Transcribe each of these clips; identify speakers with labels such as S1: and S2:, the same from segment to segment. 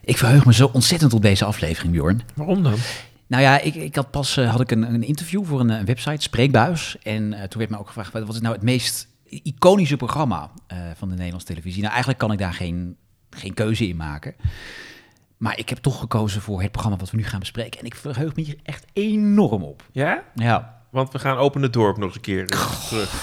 S1: Ik verheug me zo ontzettend op deze aflevering, Bjorn.
S2: Waarom dan?
S1: Nou ja, ik, ik had pas eh, had ik een, een interview voor een, eh, website, Spreekbuis. En eh, toen werd mij ook gevraagd, wat is nou het meest iconische programma eh, van de Nederlandse televisie? Nou, eigenlijk kan ik daar geen, geen keuze in maken. Maar ik heb toch gekozen voor het programma wat we nu gaan bespreken. En ik verheug me hier echt enorm op.
S2: Ja?
S1: Ja,
S2: Want we gaan open het dorp nog eens een keer eh, terug.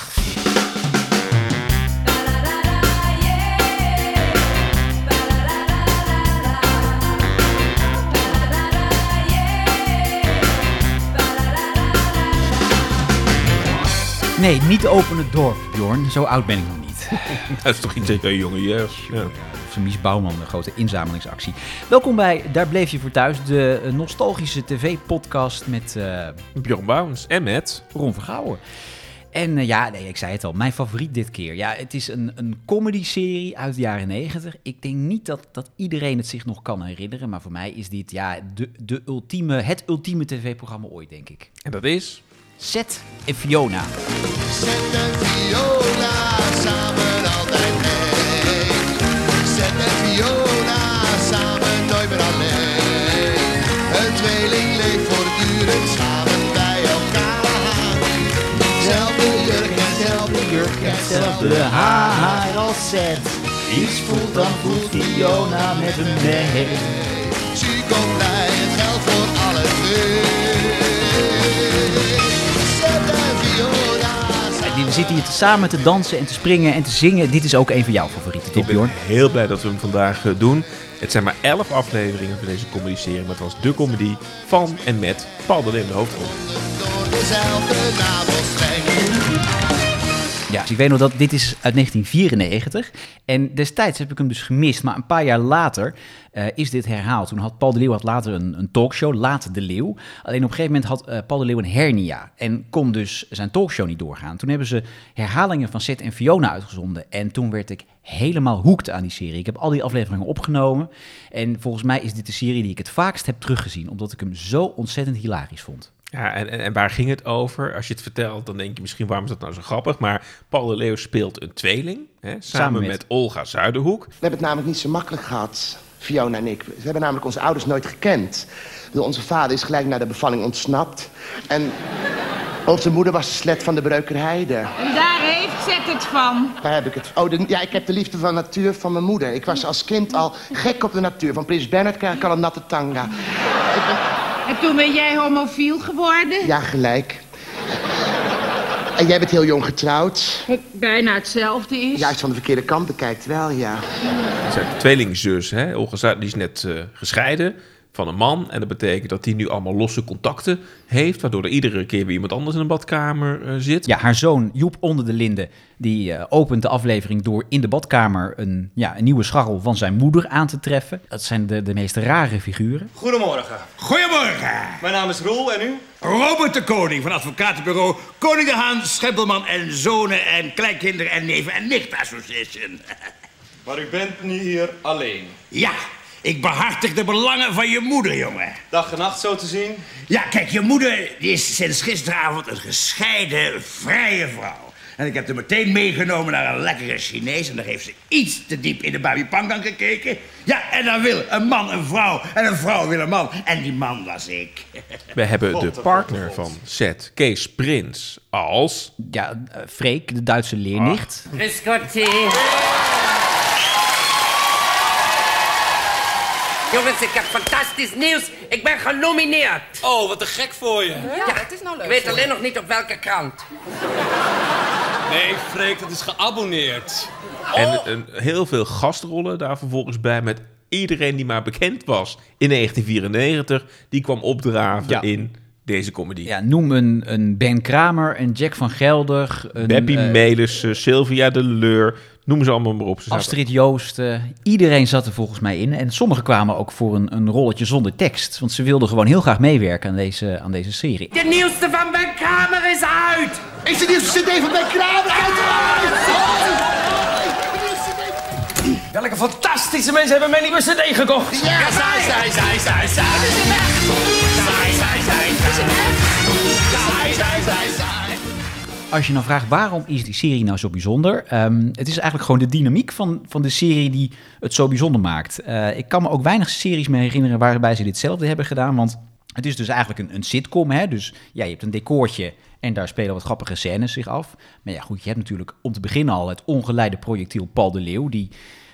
S1: nee, niet open het dorp, Bjorn. Zo oud ben ik nog niet.
S2: Dat is toch iets tegen jonge jeugd. Ja.
S1: Families Bouwman, een grote inzamelingsactie. Welkom bij Daar Bleef Je Voor Thuis, de eh, nostalgische tv-podcast met eh,
S2: Bjorn Bouwens en met...
S1: Ron Vergouwen. En eh, ja, nee, ik zei het al, mijn favoriet dit keer. Ja, het is een, een comedy-serie uit de jaren negentig. Ik denk niet dat, dat iedereen het zich nog kan herinneren, maar voor mij is dit ja, de, de ultieme, het ultieme tv-programma ooit, denk ik.
S2: En dat is...
S1: Seth en Fiona.
S3: Zet en Viola samen altijd mee. Zet en Viola samen nooit meer alleen. Een tweeling leeft voortdurend samen bij elkaar. Zelfde jurk en zelfde jurk en zelfde haar.
S1: als Seth.
S3: Iets voelt dan voelt Fiona met hem mee. Zie komt bij het geld voor alle twee. Zet en Viola samen.
S1: Die zitten hier te- samen te dansen en te springen en te zingen. Dit is ook een van jouw favorieten, toch
S2: Ik ben
S1: Bjorn?
S2: heel blij dat we hem vandaag eh, doen. Het zijn maar elf afleveringen van deze comedy-serie. Maar het was de comedy van en met Paul de Leeuw in de hoofdrol.
S3: door dezelfde navelstreng.
S1: Ja, dus ik weet nog dat dit is uit 1994. En destijds heb ik hem dus gemist. Maar een paar jaar later eh, is dit herhaald. Toen had Paul de Leeuw had later een, een talkshow, Laat de Leeuw. Alleen op een gegeven moment had eh, Paul de Leeuw een hernia. En kon dus zijn talkshow niet doorgaan. Toen hebben ze herhalingen van Seth en Fiona uitgezonden. En toen werd ik helemaal hoekt aan die serie. Ik heb al die afleveringen opgenomen. En volgens mij is dit de serie die ik het vaakst heb teruggezien. Omdat ik hem zo ontzettend hilarisch vond.
S2: Ja, en, en, en waar ging het over? Als je het vertelt, dan denk je misschien waarom is dat nou zo grappig. Maar Paul de Leeuw speelt een tweeling. Hè, samen,
S1: Samen met-
S2: met... Olga Zuiderhoek.
S4: We hebben het namelijk niet zo makkelijk gehad, Fiona en ik. We hebben namelijk onze ouders nooit gekend. Ik bedoel, Onze vader is gelijk na de bevalling ontsnapt. En onze moeder was de slet van de Breukerheide.
S5: En daar heeft Zet het van.
S4: Waar heb ik het? Oh, de- ja, ik heb de liefde van natuur van mijn moeder. Ik was als kind al gek op de natuur. Van Prins Bernhard krijg ik al een natte tanga. Ik ben-
S5: En toen ben jij homofiel geworden?
S4: Ja, gelijk. En jij bent heel jong getrouwd.
S5: Wat bijna hetzelfde is.
S4: Juist van de verkeerde kant bekijkt wel, ja.
S2: Het zijn tweelingzus. Hè? Olga Zuid, die is net eh, gescheiden van een man. En dat betekent dat hij nu allemaal losse contacten heeft. Waardoor er iedere keer weer iemand anders in een badkamer eh, zit.
S1: Ja, haar zoon Joep onder de Linden, die eh, opent de aflevering door in de badkamer een, ja, een nieuwe scharrel van zijn moeder aan te treffen. Dat zijn de, de meest rare figuren.
S6: Goedemorgen.
S7: Goedemorgen.
S6: Mijn naam is Roel en u?
S7: Robert de Koning van advocatenbureau Koning de Haan, Schempelman en Zonen en Kleinkinderen en Neven en Nicht Association.
S6: Maar u bent nu hier alleen.
S7: Ja, ik behartig de belangen van je moeder, jongen.
S6: Dag en nacht zo te zien.
S7: Ja, kijk, je moeder die is sinds gisteravond een gescheiden, vrije vrouw. En ik heb haar meteen meegenomen naar een lekkere Chinees. En daar heeft ze iets te diep in de Babi Pangang gekeken. Ja, en dan wil een man een vrouw. En een vrouw wil een man. En die man was ik.
S2: We hebben de partner van Seth, Kees Prins, als...
S1: Ja, eh, Freek, de Duitse
S2: Ah.
S1: leernicht.
S8: Biscotti. Jongens, ik heb fantastisch nieuws. Ik ben genomineerd.
S6: Oh, wat een gek voor je.
S8: Ja, het is nou leuk. Ik weet alleen nog niet op welke krant.
S6: Nee, Freek, dat is geabonneerd.
S2: Ah. En een, heel veel gastrollen daar vervolgens bij met iedereen die maar bekend was in 1994. Die kwam opdraven
S1: Ja.
S2: in deze comedy.
S1: Ja, noem een, een Ben Kramer, een Jack van Gelder, een
S2: Beppie
S1: eh,
S2: Melissen, Sylvia de Leur, noem ze allemaal maar op. Ze zaten-
S1: Astrid Joosten. Iedereen zat er volgens mij in. En sommigen kwamen ook voor een, een rolletje zonder tekst. Want ze wilden gewoon heel graag meewerken aan deze, aan deze serie.
S8: De nieuwste van Ben Kramer is uit.
S4: Is de nieuwste cd van mijn kraam
S9: Welke fantastische mensen hebben mij nieuwe cd gekocht.
S4: Ja, zij, zij, zij, zij, zij.
S1: als je nou vraagt waarom is die serie nou zo bijzonder, ehm, het is eigenlijk gewoon de dynamiek van, van de serie die het zo bijzonder maakt. Eh, ik kan me ook weinig series meer herinneren waarbij ze ditzelfde hebben gedaan, want het is dus eigenlijk een, een sitcom. Hè? Dus ja, je hebt een decoortje en daar spelen wat grappige scènes zich af. Maar ja, goed, je hebt natuurlijk om te beginnen al het ongeleide projectiel Paul de Leeuw, die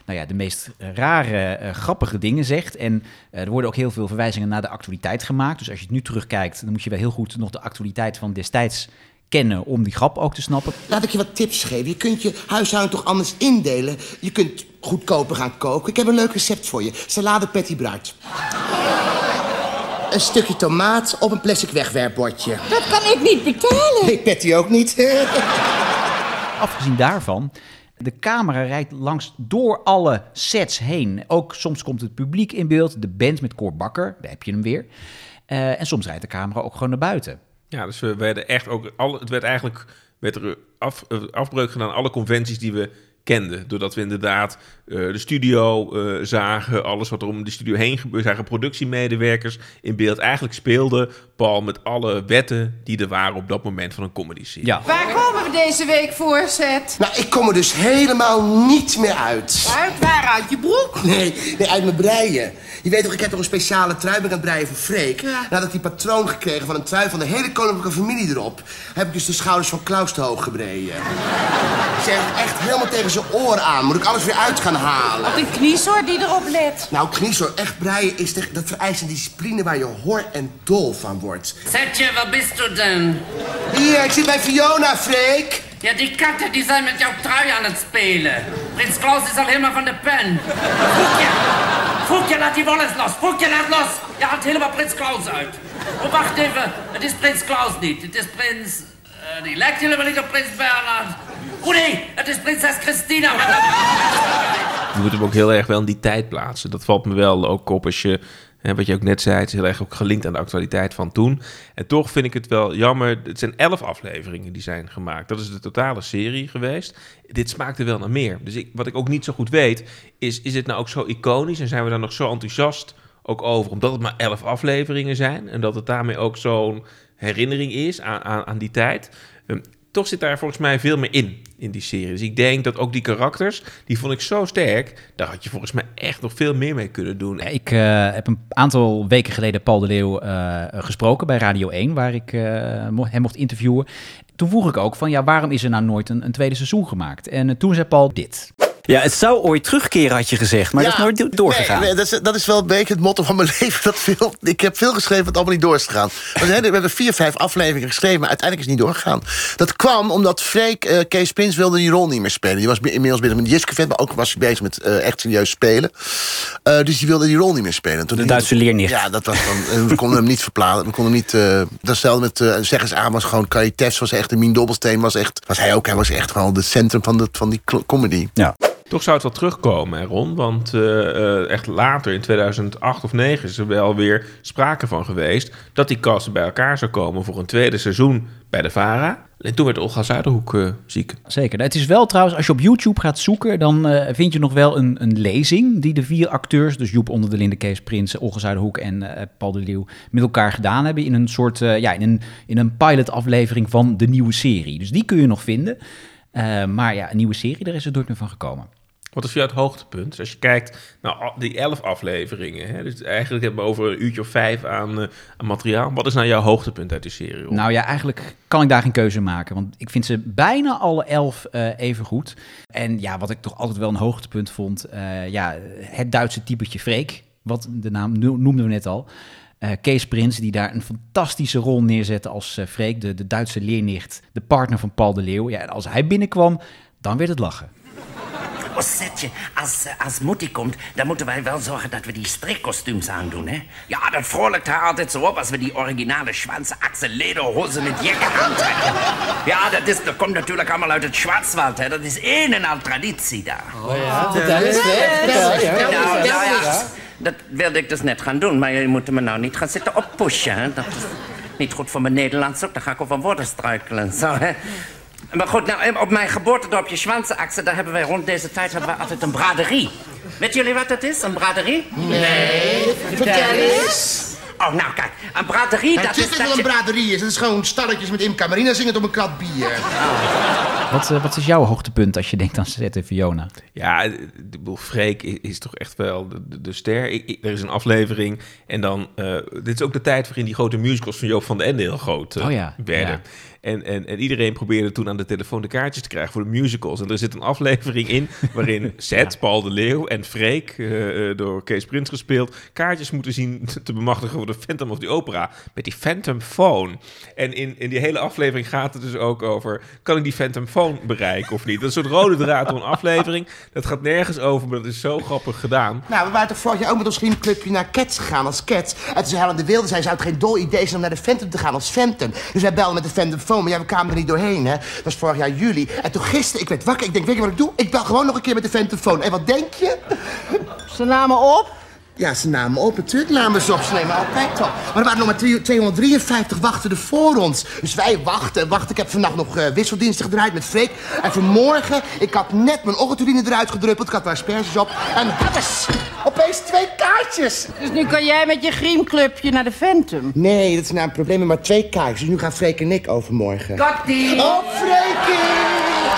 S1: nou ja, de meest rare, eh, grappige dingen zegt. En eh, er worden ook heel veel verwijzingen naar de actualiteit gemaakt. Dus als je het nu terugkijkt, dan moet je wel heel goed nog de actualiteit van destijds kennen om die grap ook te snappen.
S3: Laat ik je wat tips geven. Je kunt je huishouden toch anders indelen. Je kunt goedkoper gaan koken. Ik heb een leuk recept voor je. Salade petit bruid. een stukje tomaat op een plastic wegwerpbordje.
S10: Oh.
S5: Dat kan ik niet betalen.
S3: Nee, Patty ook niet.
S1: Afgezien daarvan, de camera rijdt langs door alle sets heen. Ook soms komt het publiek in beeld, de band met Cor Bakker, daar heb je hem weer. Eh, en soms rijdt de camera ook gewoon naar buiten.
S2: Ja, dus we werden echt ook. Alle, het werd eigenlijk werd er af, eh, afbreuk gedaan aan alle conventies die we kenden. Doordat we inderdaad eh, de studio eh, zagen, alles wat er om de studio heen gebeurde, zagen productiemedewerkers in beeld. Eigenlijk speelde Paul met alle wetten die er waren op dat moment van een comedy serie.
S1: Ja.
S5: Waar komen we deze week voor, Zet?
S3: nou, ik kom er dus helemaal niet meer uit.
S5: Uit waar uit je broek?
S3: Nee, nee, uit mijn breien. Je weet toch, ik heb toch een speciale trui ben ik aan het breien voor Freek.
S5: Ja.
S3: Nadat hij patroon gekregen van een trui van de hele koninklijke familie erop... heb ik dus de schouders van Klaus te hoog gebreien. Ze heeft echt helemaal tegen zijn oren aan. Moet ik alles weer uit gaan halen?
S5: Wat een kniesoor die erop let.
S3: Nou, kniezoor, echt breien is de, dat vereist een discipline waar je hoor en dol van wordt.
S8: Setje, waar bist du denn?
S3: Hier, ik zit bij Fiona, Freek.
S8: Ja, die katten die zijn met jouw trui aan het spelen. Prins Klaus is al helemaal van de pen. Foekje, Foekje, laat die wolles los. Foekje, laat los. Je haalt helemaal Prins Klaus uit. Oh, wacht even. Het is Prins Klaus niet. Het is Prins... eh, die lijkt helemaal niet op Prins Bernhard. Oh nee, het is Prinses Christina. Maar dat-
S2: Je moet hem ook heel erg wel in die tijd plaatsen. Dat valt me wel ook op als je, hè, wat je ook net zei, het is heel erg ook gelinkt aan de actualiteit van toen. En toch vind ik het wel jammer. Het zijn elf afleveringen die zijn gemaakt. Dat is de totale serie geweest. Dit smaakte wel naar meer. Dus ik, wat ik ook niet zo goed weet, is is het nou ook zo iconisch en zijn we daar nog zo enthousiast ook over? Omdat het maar elf afleveringen zijn en dat het daarmee ook zo'n herinnering is aan, aan, aan die tijd. Ehm, toch zit daar volgens mij veel meer in, in die serie. Dus ik denk dat ook die karakters, die vond ik zo sterk, daar had je volgens mij echt nog veel meer mee kunnen doen.
S1: Ik eh, heb een aantal weken geleden Paul de Leeuw eh, gesproken bij Radio 1, waar ik eh, mo- hem mocht interviewen. Toen vroeg ik ook van, ja, waarom is er nou nooit een, een tweede seizoen gemaakt? En eh, toen zei Paul dit.
S11: Ja, het zou ooit terugkeren, had je gezegd, maar dat is nooit do- doorgegaan.
S3: Nee, nee, dat, is, dat is wel een beetje het motto van mijn leven. Dat veel, ik heb veel geschreven wat allemaal niet door is gegaan. We, zijn- we hebben vier, vijf afleveringen geschreven, maar uiteindelijk is het niet doorgegaan. Dat kwam omdat Freek, eh, Kees Prins wilde die rol niet meer spelen. Die was bi- inmiddels bezig met Jiskevet, maar ook was hij bezig met eh, echt serieus spelen. Eh, dus die wilde die rol niet meer spelen. Toen
S11: De Duitse leernicht.
S3: Ja, dat was dan, eh, we konden hem niet verplaatsen. We konden hem niet... eh dat stelde met eh Zeg eens aan was gewoon... Kari Tefs was echt... En Mien Dobbelsteen was echt... Was hij ook. Hij was echt gewoon het centrum van, de, van die cl- comedy.
S11: Ja.
S2: Toch zou het wel terugkomen, hè, Ron, want eh, eh, echt later, in 2008 of 2009, is er wel weer sprake van geweest dat die casten bij elkaar zou komen voor een tweede seizoen bij de VARA. En toen werd Olga Zuiderhoek eh, ziek.
S1: Zeker. Nou, Het is wel trouwens, als je op YouTube gaat zoeken, dan eh, vind je nog wel een, een lezing die de vier acteurs, dus Joep onder de Linde, Kees Prins, Olga Zuiderhoek en eh, Paul de Leeuw, met elkaar gedaan hebben in een soort, eh, ja, in een, in een pilot-aflevering van de nieuwe serie. Dus die kun je nog vinden. Eh, maar ja, een nieuwe serie, daar is het nooit meer van gekomen.
S2: Wat is voor jou het hoogtepunt? Als je kijkt naar al- die elf afleveringen, hè, dus eigenlijk hebben we over een uurtje of vijf aan, eh, aan materiaal. Wat is nou jouw hoogtepunt uit die serie? Ron?
S1: Nou ja, eigenlijk kan ik daar geen keuze in maken. Want ik vind ze bijna alle elf eh, even goed. En ja, wat ik toch altijd wel een hoogtepunt vond. eh, ja, het Duitse typetje Freek. Wat de naam no- noemden we net al. Eh, Kees Prins, die daar een fantastische rol neerzette als eh, Freek. De, de Duitse leernicht. De partner van Paul de Leeuw. Ja, en als hij binnenkwam, dan werd het lachen.
S8: Oh, Setje, als, eh, als Mutti komt, dan moeten wij wel zorgen dat we die strikkostuums aandoen, hè? ne? Ja, dat vrolijkt haar altijd zo op als we die originale schwanzachse lederhosen met jekken aantrekken. Ja, dat, is, dat komt natuurlijk allemaal uit het Schwarzwald, hè? Dat is één en al traditie daar. Nou, nou ja, dat wilde ik dus net gaan doen, maar jullie moeten me nou niet gaan zitten oppushen. Hè? Dat is niet goed voor mijn Nederlands ook, dan ga ik over woorden struikelen. Zo, hè? Maar goed, nou, op mijn geboortedorpje Schwanzeakse, daar hebben wij rond deze tijd hebben wij altijd een braderie. Weet jullie wat dat is, een braderie? Nee, vertel eens.
S10: Oh, nou kijk, een braderie,
S12: Het
S10: dat
S12: is
S10: is...
S12: dit
S10: dat
S12: wel een
S10: je-
S12: braderie is. Het is gewoon stalletjes met Imca Marina zingend op een krat bier.
S1: Wat, eh, wat is jouw hoogtepunt als je denkt aan Zet en Fiona?
S2: Ja, eh, ik bedoel, Freek i- is toch echt wel de, de, de ster. Ik- ik- er is een aflevering en dan... eh, dit is ook de tijd waarin die grote musicals van Joop van den Ende heel groot eh,
S1: Oh ja,
S2: werden.
S1: ja.
S2: En, en, en iedereen probeerde toen aan de telefoon de kaartjes te krijgen voor de musicals. En er zit een aflevering in waarin Zet, Paul de Leeuw en Freek, eh, eh, door Kees Prins gespeeld, kaartjes moeten zien te bemachtigen voor de Phantom of the Opera. Met die Phantom Phone. En in, in die hele aflevering gaat het dus ook over, kan ik die Phantom Phone bereiken of niet? Dat is een soort rode draad door een aflevering. Dat gaat nergens over, maar dat is zo grappig gedaan.
S4: Nou, we waren toch vorig jaar ook met ons vriendenclubje naar Cats gegaan als Cats. En toen zei Helen de Wilde, zei, zou het geen dol idee zijn om naar de Phantom te gaan als Phantom? Dus wij belden met de Phantom phone, maar ja, we kwamen er niet doorheen, hè. Dat was vorig jaar juli. En toen gisteren, ik werd wakker, ik denk, weet je wat ik doe? Ik bel gewoon nog een keer met de Phantom phone. En wat denk je? Ze namen op? Ja, ze namen op. Natuurlijk namen ze op. Ze nemen altijd op. Maar er waren nog maar drie- 253 wachten er voor ons. Dus wij wachten, wachten. Ik heb vannacht nog eh, wisseldiensten gedraaid met Freek. En vanmorgen, ik had net mijn ochtendurine eruit gedruppeld. Ik had daar asperges op. En happers! Opeens twee kaartjes!
S5: Dus nu kan jij met je griemclubje naar de Phantom.
S4: Nee, dat is nou een probleem met maar twee kaartjes. Dus nu gaan Freek en ik overmorgen.
S5: die!
S4: Op Freekie!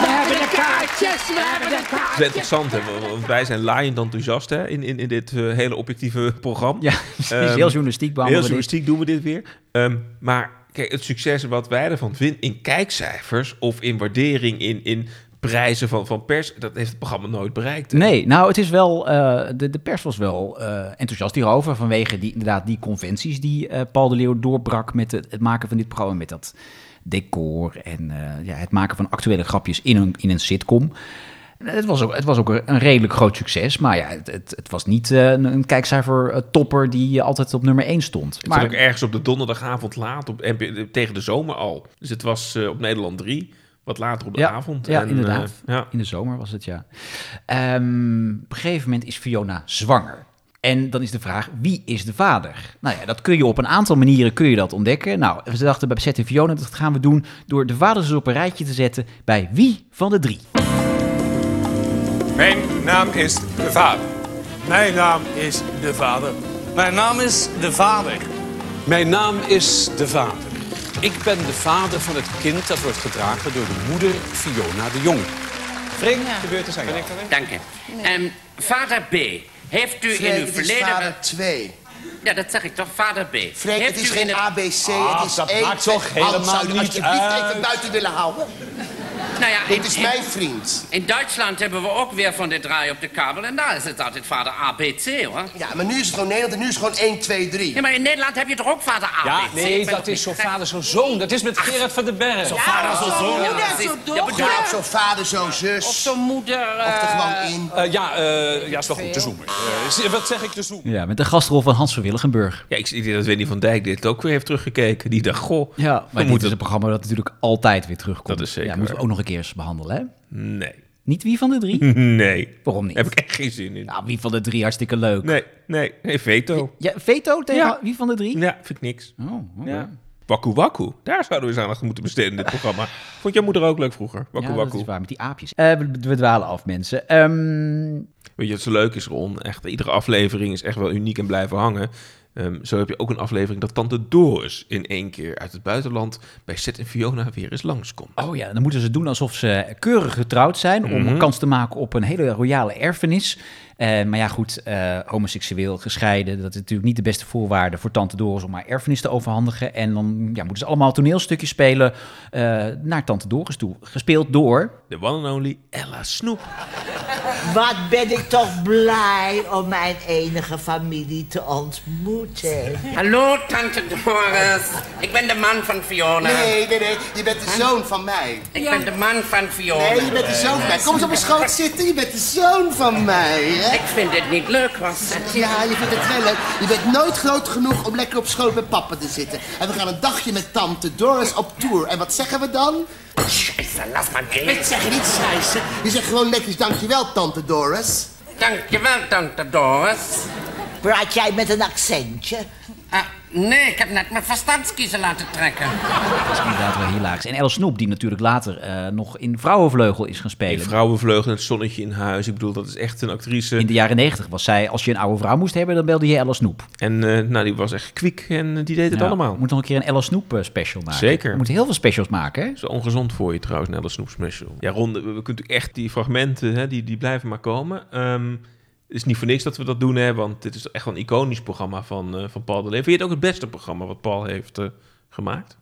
S5: We hebben de kaartjes, we hebben de kaartjes.
S2: Het is interessant, hè, want wij zijn laaiend enthousiast hè, in, in, in dit eh, hele objectieve programma. Ja,
S1: is heel journalistiek behandelen we
S2: Heel
S1: dit.
S2: journalistiek doen we dit weer. Ehm, maar kijk, het succes wat wij ervan vinden in kijkcijfers of in waardering, in, in prijzen van, van pers, dat heeft het programma nooit bereikt. hè.
S1: Nee, nou, het is wel. eh, de, de pers was wel eh, enthousiast hierover. Vanwege die, inderdaad die conventies die eh, Paul de Leeuw doorbrak met het, het maken van dit programma. Met dat decor en eh, ja, het maken van actuele grapjes in een, in een sitcom. Het was, ook, het was ook een redelijk groot succes, maar ja, het, het, het was niet eh, een- een kijkcijfer-topper die eh, altijd op nummer 1 stond.
S2: Het
S1: Maar
S2: was ook ergens op de donderdagavond laat, op, NP tegen de zomer al. Dus het was eh, op Nederland 3, wat later op de
S1: ja,
S2: avond.
S1: Ja,
S2: En,
S1: inderdaad.
S2: eh, ja.
S1: In de zomer was het, ja. Ehm, op een gegeven moment is Fiona zwanger. En dan is de vraag, wie is de vader? Nou ja, dat kun je op een aantal manieren kun je dat ontdekken. Nou, ze dachten bij Zet en Fiona, dat gaan we doen... door de vaders eens op een rijtje te zetten bij wie van de drie.
S6: Mijn naam is de vader. Mijn naam is de vader. Mijn naam is de vader. Mijn naam is de vader. Ik ben de vader van het kind dat wordt gedragen door de moeder Fiona de Jong. Vreemd gebeurt er zijn. Ben ik dat weer?
S8: Dank je. Ehm, vader B, heeft u in
S6: Freek,
S8: uw
S6: het is
S8: verleden...
S6: vader
S8: 2. Ja, dat zeg ik toch, vader B.
S4: Freek, het is geen ABC,
S8: Ah,
S4: het is
S8: dat
S4: één-
S8: maakt toch
S4: Hans,
S8: helemaal
S4: zou je
S8: niet
S4: alsjeblieft
S8: uit?
S4: even buiten willen houden?
S8: Nou ja,
S4: Dit is mijn vriend.
S8: In Duitsland hebben we ook weer van de draai op de kabel. En daar is het altijd vader ABC, hoor.
S4: Ja, maar nu is het gewoon Nederland en nu is het gewoon 1, 2, 3.
S8: Ja, maar in Nederland heb je toch ook vader ABC?
S6: Ja,
S8: Ik
S6: nee,
S8: ben
S6: dat
S8: toch
S6: is zo'n vader, zo'n zoon. Dat is met Gerard van den Berg.
S8: Zo'n vader, zo'n zo'n zoon. moeder, zo'n dochter.
S4: Ja, of zo'n vader, zo'n zus. Of
S8: zo'n moeder.
S4: Of er gewoon in.
S6: Eh, ja, eh, ja, is wel goed, de zoomer. Eh, wat zeg ik, de zoomer?
S1: Ja, met de gastrol van Hans van Willigenburg.
S2: Ja, ik zie dat Winnie van Dijk dit ook weer heeft teruggekeken. Die dacht, goh,
S1: Ja, maar
S2: we
S1: dit
S2: moeten
S1: is een programma dat natuurlijk altijd weer terugkomt.
S2: Dat is zeker
S1: Ja, moeten we
S2: waar. Hm.
S1: ook nog een keer eens behandelen, hè?
S2: Nee.
S1: Niet wie van de drie?
S2: Nee.
S1: Waarom niet?
S2: Heb ik echt geen zin in.
S1: Nou, wie van de drie hartstikke leuk.
S2: Nee, nee, nee, veto.
S1: Ja, veto tegen
S2: Ja.
S1: wie van de drie?
S2: Ja, vind ik niks.
S1: Oh, oké.
S2: Ja. Wakku Wakku, daar zouden we eens aandacht aan moeten besteden in dit programma. Vond jouw moeder ook leuk vroeger? Wakku
S1: ja,
S2: Wakku.
S1: dat is waar, met die aapjes. Eh, we, we dwalen af, mensen. Ehm,
S2: Weet je wat zo leuk is, Ron? Echt, iedere aflevering is echt wel uniek en blijven hangen. Ehm, zo heb je ook een aflevering dat Tante Doris in één keer uit het buitenland bij Seth en Fiona weer eens langskomt.
S1: oh ja, dan moeten ze doen alsof ze keurig getrouwd zijn... om
S2: Mhm.
S1: kans te maken op een hele royale erfenis. Eh, maar ja, goed, eh, homoseksueel, gescheiden... dat is natuurlijk niet de beste voorwaarde voor Tante Doris... om haar erfenis te overhandigen. En dan ja, moeten ze allemaal toneelstukjes spelen eh, naar Tante Doris toe. Gespeeld door...
S2: De one and only Ella Snoep.
S13: Wat ben ik toch blij om mijn enige familie te ontmoeten.
S8: Eh, Hallo, tante Doris. Ik ben de man van Fiona.
S4: Nee, nee, nee. Je bent de zoon van mij.
S8: Ik ben de man van Fiona.
S4: Nee, je bent de zoon van mij. Kom eens op mijn schoot zitten. Je bent de zoon van mij. Hè?
S8: Ik vind het niet leuk, was
S4: Ja, je vindt het wel leuk. Je bent nooit groot genoeg om lekker op schoot met papa te zitten. En we gaan een dagje met tante Doris op tour. En wat zeggen we dan?
S8: Scheiße, laat maar gehen.
S4: Ik zeg niet scheissen. Je zegt gewoon netjes dankjewel, tante Doris.
S8: Dankjewel, tante Doris. Ah,
S13: Praat jij met een accentje?
S8: Nee, ik heb net mijn verstandskiezen laten trekken.
S1: Dat is inderdaad wel hilarisch. En El Snoep, die natuurlijk later eh, nog in Vrouwenvleugel is gaan spelen.
S2: In Vrouwenvleugel en het zonnetje in huis. Ik bedoel, dat is echt een actrice.
S1: In de jaren negentig was zij, als je een oude vrouw moest hebben, dan belde je Elle Snoep.
S2: En eh, nou, die was echt kwiek en eh, die deed het
S1: Ja,
S2: allemaal.
S1: Moet Nou, nog een keer een Elle Snoep eh, special maken.
S2: Zeker.
S1: We moeten heel veel specials maken, hè?
S2: Is wel ongezond voor je trouwens, net als Snoep Special. Ja, Ron, we, we kunnen natuurlijk echt die fragmenten, hè, die, die blijven maar komen. Ehm, het is niet voor niks dat we dat doen, hè, want dit is echt wel een iconisch programma van, eh, van Paul de Leeuw. Vind je het ook het beste programma wat Paul heeft eh, gemaakt?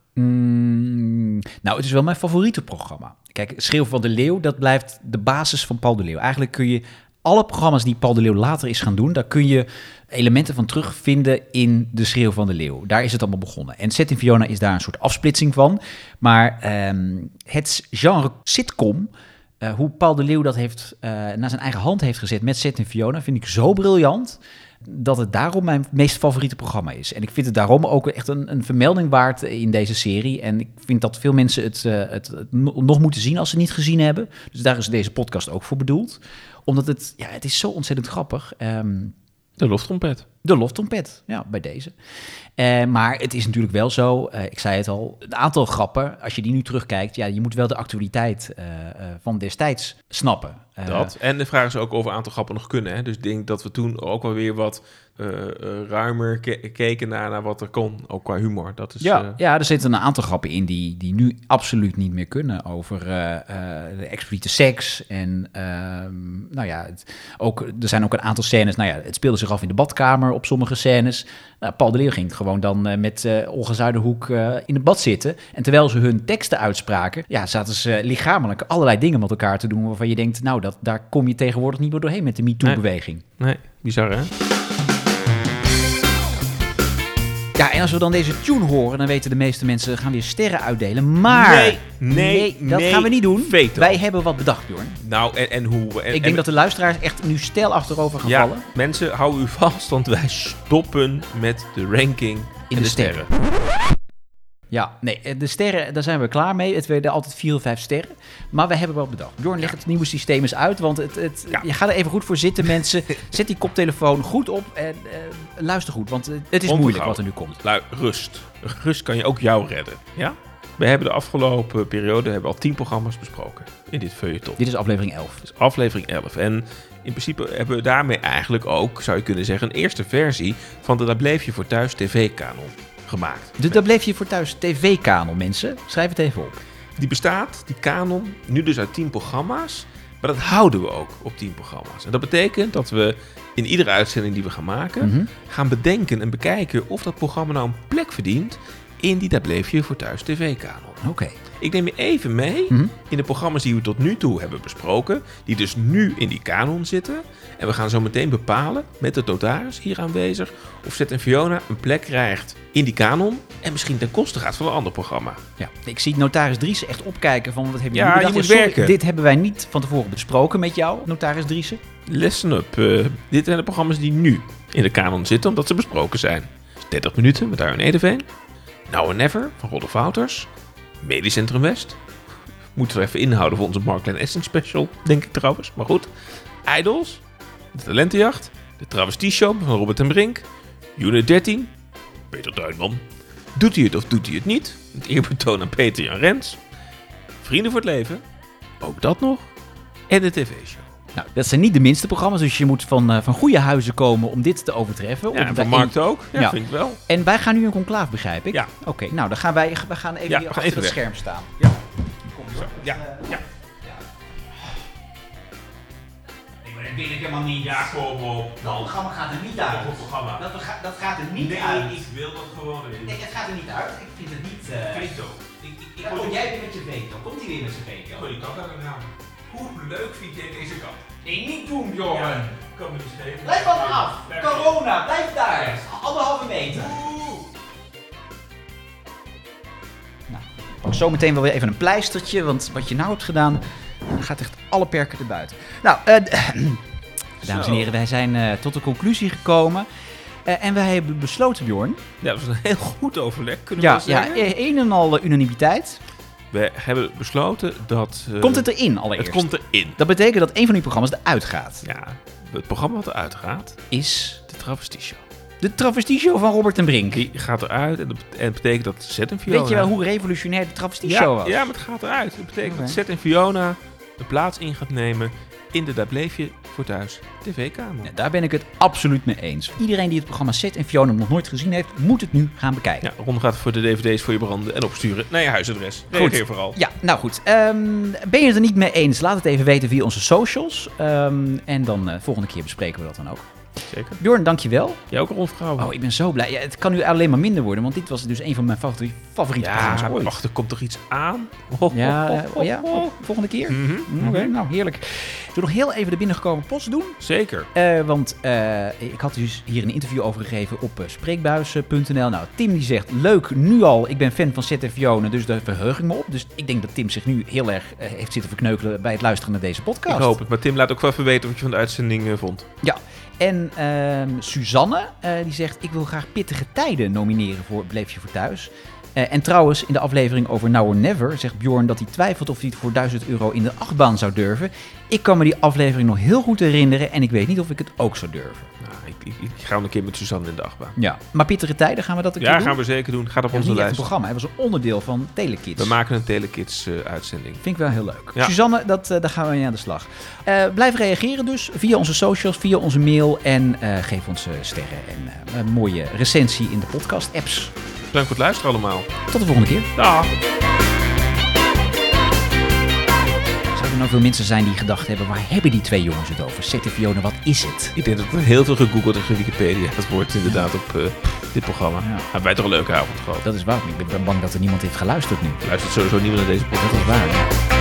S1: Mm, nou, het is wel mijn favoriete programma. Kijk, Schreeuw van de Leeuw, dat blijft de basis van Paul de Leeuw. Eigenlijk kun je alle programma's die Paul de Leeuw later is gaan doen, daar kun je elementen van terugvinden in de Schreeuw van de Leeuw. Daar is het allemaal begonnen. En Set in Fiona is daar een soort afsplitsing van. Maar ehm, het genre sitcom, eh, hoe Paul de Leeuw dat heeft, eh, naar zijn eigen hand heeft gezet met Set in Fiona, vind ik zo briljant dat het daarom mijn meest favoriete programma is. En ik vind het daarom ook echt een, een vermelding waard in deze serie. En ik vind dat veel mensen het, eh, het, het no- nog moeten zien als ze het niet gezien hebben. Dus daar is deze podcast ook voor bedoeld. Omdat het, ja, het is zo ontzettend grappig. Ehm
S2: de loftrompet.
S1: De loftrompet, ja, bij deze. Eh, maar het is natuurlijk wel zo, eh, ik zei het al, een aantal grappen, als je die nu terugkijkt, ja, je moet wel de actualiteit eh, eh, van destijds snappen. Eh,
S2: Dat. En de vraag is ook of een aantal grappen nog kunnen. Hè? Dus ik denk dat we toen ook wel weer wat eh, eh, ruimer ke- keken naar, naar wat er kon. Ook qua humor. Dat is,
S1: ja,
S2: eh,
S1: ja, er zitten een aantal grappen in die, die nu absoluut niet meer kunnen. Over eh, eh, de expliciete seks. En ehm, nou ja, het- ook, er zijn ook een aantal scènes. Nou ja, het speelde zich af in de badkamer op sommige scènes. Nou, Paul de Leeuw ging gewoon dan eh, met eh Olga Zuiderhoek eh, in het bad zitten. En terwijl ze hun teksten uitspraken, ja, zaten ze lichamelijk allerlei dingen met elkaar te doen. Waarvan je denkt, nou, dat, daar kom je tegenwoordig niet meer doorheen met de MeToo-beweging.
S2: Nee, bizar hè?
S1: Ja, en als we dan deze tune horen, dan weten de meeste mensen gaan weer sterren uitdelen. Maar
S2: Nee, nee,
S1: dat
S2: nee,
S1: gaan we niet doen.
S2: veto.
S1: Wij hebben wat bedacht, Bjorn.
S2: Nou, en, en hoe... En,
S1: Ik
S2: en-
S1: denk dat de luisteraars echt nu stijl achterover gaan
S2: ja,
S1: vallen.
S2: mensen, hou u vast, want wij stoppen met de ranking in de,
S1: de
S2: sterren.
S1: sterren. Ja, nee, eh, de sterren, daar zijn we klaar mee. Het werden altijd vier of vijf sterren. Maar we hebben wel bedacht. Bjorn, leg het nieuwe systeem eens uit. Want het, het, je gaat er even goed voor zitten, mensen. Zet die koptelefoon goed op en eh, luister goed. Want eh, het is moeilijk wat er nu komt.
S2: Lui, Nou, rust. Rust kan je ook jou redden. Ja? We hebben de afgelopen periode hebben al tien programma's besproken in dit feuilleton.
S1: Dit is aflevering Dus- 11.
S2: Dit is aflevering 11. En in principe hebben we daarmee eigenlijk ook, zou je kunnen zeggen, een eerste versie van de Daar Bleef Je Voor Thuis tv-kanon gemaakt.
S1: Dus daar bleef je voor thuis. TV-kanon, mensen. Schrijf het even op.
S2: Die bestaat, die kanon, nu dus uit 10 programma's. Maar dat houden we ook op 10 programma's. En dat betekent dat we in iedere uitzending die we gaan maken,
S1: Mhm.
S2: gaan bedenken en bekijken of dat programma nou een plek verdient in die Daar bleef je voor thuis tv-kanon.
S1: Oké.
S2: Ik neem je even mee
S1: Mhm.
S2: in de programma's die we tot nu toe hebben besproken, die dus nu in die kanon zitten. En we gaan zo meteen bepalen met de notaris hier aanwezig of Zet en Fiona een plek krijgt in die kanon en misschien ten koste gaat van een ander programma.
S1: Ja, ik zie notaris Dries echt opkijken van wat heb je
S2: Ja,
S1: nu bedacht?
S2: je moet
S1: En sorry,
S2: werken.
S1: Dit hebben wij niet van tevoren besproken met jou, notaris Driesen.
S2: Listen up. eh, dit zijn de programma's die nu in de kanon zitten, omdat ze besproken zijn. 30 minuten met Arjen Edeveen. Now and Never van Rodolf Wouters. Medisch Centrum West. Moeten we even inhouden voor onze Markland Essen special, denk ik trouwens. Maar goed. Idols. De Talentenjacht. De Travestie Show van Robert en Brink. Unit 13. Peter Duinman. Doet hij het of doet hij het niet? Het eerbetoon aan Peter Jan Rens. Vrienden voor het leven. Ook dat nog. En de tv-show.
S1: Nou, dat zijn niet de minste programma's, dus je moet van, eh, van goede huizen komen om dit te overtreffen.
S2: Ja,
S1: Om
S2: en
S1: daar
S2: van Markt
S1: in-
S2: ook. Ja, vind ik wel.
S1: En wij gaan nu een conclaaf, begrijp ik?
S2: Ja.
S1: Oké, nou, dan gaan wij we gaan even
S2: Ja,
S1: hier
S2: we
S1: achter
S2: gaan even
S1: het
S2: weg.
S1: scherm staan.
S2: Ja. Ja, ja. Nee, maar dat wil ik helemaal niet. Ja, kom op.
S1: Dat programma gaat er niet uit.
S2: Dat programma.
S1: Dat, bega- dat gaat er niet
S2: Nee,
S1: uit.
S2: ik wil dat gewoon niet.
S1: Nee, het gaat er niet uit. Ik vind het niet... eh,
S2: Veto. Ik, ik, ik,
S1: Daar kom jij weer met je veto. Komt hij weer met zijn veto?
S2: Oh, die kat uit de raam. Hoe leuk vind jij deze kat?
S1: Nee, niet doen, jongen.
S2: Ja, kan me niet schelen.
S1: Blijf van me af.
S2: Blijf van me af.
S1: Corona, blijf daar. Anderhalve meter. Nou, Pak zo meteen wel weer even een pleistertje, want wat je nou hebt gedaan gaat echt alle perken erbuiten. Nou, eh, dames en heren, wij zijn eh, tot de conclusie gekomen. Eh, en wij hebben besloten, Bjorn.
S2: Ja, dat was een heel goed overleg, kunnen we
S1: Ja,
S2: wel
S1: ja,
S2: zeggen.
S1: e- een en al eh, unanimiteit.
S2: We hebben besloten dat... eh,
S1: Komt het erin allereerst?
S2: Het komt erin.
S1: Dat betekent dat een van die programma's eruit gaat.
S2: Ja, het programma wat eruit gaat...
S1: Is
S2: De Travestie Show.
S1: De travestieshow van Robert en Brink.
S2: Die gaat eruit en dat bet- en het betekent dat Zet en Fiona...
S1: Weet je wel hoe revolutionair de
S2: ja,
S1: travestieshow was?
S2: Ja, maar het gaat eruit. Dat betekent
S1: Oké.
S2: dat Zet en Fiona de plaats in gaat nemen in de Daar Bleef Je Voor Thuis tv-kamer.
S1: Ja, Daar ben ik het absoluut mee eens. Iedereen die het programma Set en Fiona nog nooit gezien heeft, moet het nu gaan bekijken.
S2: Ron gaat voor de dvd's voor je branden en opsturen naar je huisadres. Reageer vooral.
S1: Ja, nou goed. Ehm, ben je het er niet mee eens? Laat het even weten via onze socials. Ehm, en dan eh, volgende keer bespreken we dat dan ook.
S2: Zeker.
S1: Bjorn, dankjewel.
S2: Jij ook, Ron Vrouwen.
S1: Oh, ik ben zo blij. Ja, het kan nu alleen maar minder worden, want dit was dus een van mijn favori- favoriete
S2: Ja,
S1: programma's
S2: maar
S1: ooit.
S2: wacht, er komt toch iets aan? Ho, ho,
S1: Ja,
S2: ho,
S1: eh,
S2: ho,
S1: ja,
S2: ho.
S1: volgende keer.
S2: Mhm.
S1: Mhm, Oké, nou heerlijk. Zullen we nog heel even de binnengekomen post doen?
S2: Zeker.
S1: Eh, want eh, ik had dus hier een interview over gegeven op eh, spreekbuis.nl. Nou, Tim die zegt, leuk, nu al. Ik ben fan van ZF Jonen, dus daar verheug ik me op. Dus ik denk dat Tim zich nu heel erg eh, heeft zitten verkneukelen bij het luisteren naar deze
S2: Ik
S1: podcast.
S2: hoop het. Maar Tim, laat ook wel even weten wat je van de uitzending eh, vond.
S1: Ja. En ehm, Suzanne, eh, die zegt, ik wil graag pittige tijden nomineren voor Bleef je voor thuis. Eh, en trouwens, in de aflevering over Now or Never zegt Bjorn dat hij twijfelt of hij het voor 1000 euro in de achtbaan zou durven. Ik kan me die aflevering nog heel goed herinneren en ik weet niet of ik het ook zou durven.
S2: Nou, ik, ik, ik ga een keer met Suzanne in de achtbaan.
S1: Ja, maar pittige tijden gaan we dat ook
S2: Ja, gaan we zeker doen. Gaat op onze
S1: niet echt
S2: lijst.
S1: een programma, het was een onderdeel van Telekids.
S2: We maken een eh, Telekids-uitzending.
S1: Vind ik wel heel leuk.
S2: Ja.
S1: Suzanne, dat, eh, daar gaan we mee aan de slag. Eh, blijf reageren dus via onze socials, via onze mail. En eh, geef ons eh, sterren en eh, een mooie recensie in de podcast-apps.
S2: Bedankt voor het luisteren allemaal.
S1: Tot de volgende keer.
S2: Dag.
S1: Zouden er nou veel mensen zijn die gedacht hebben... waar hebben die twee jongens het over? Certifione, wat is het?
S2: Ik denk dat er heel veel gegoogeld is in Wikipedia. Dat wordt inderdaad op eh, dit programma. Hebben wij toch een leuke avond gehad.
S1: Dat is waar. Ik ben bang dat er niemand heeft geluisterd nu.
S2: Luistert sowieso niemand naar deze podcast.
S1: Dat is waar.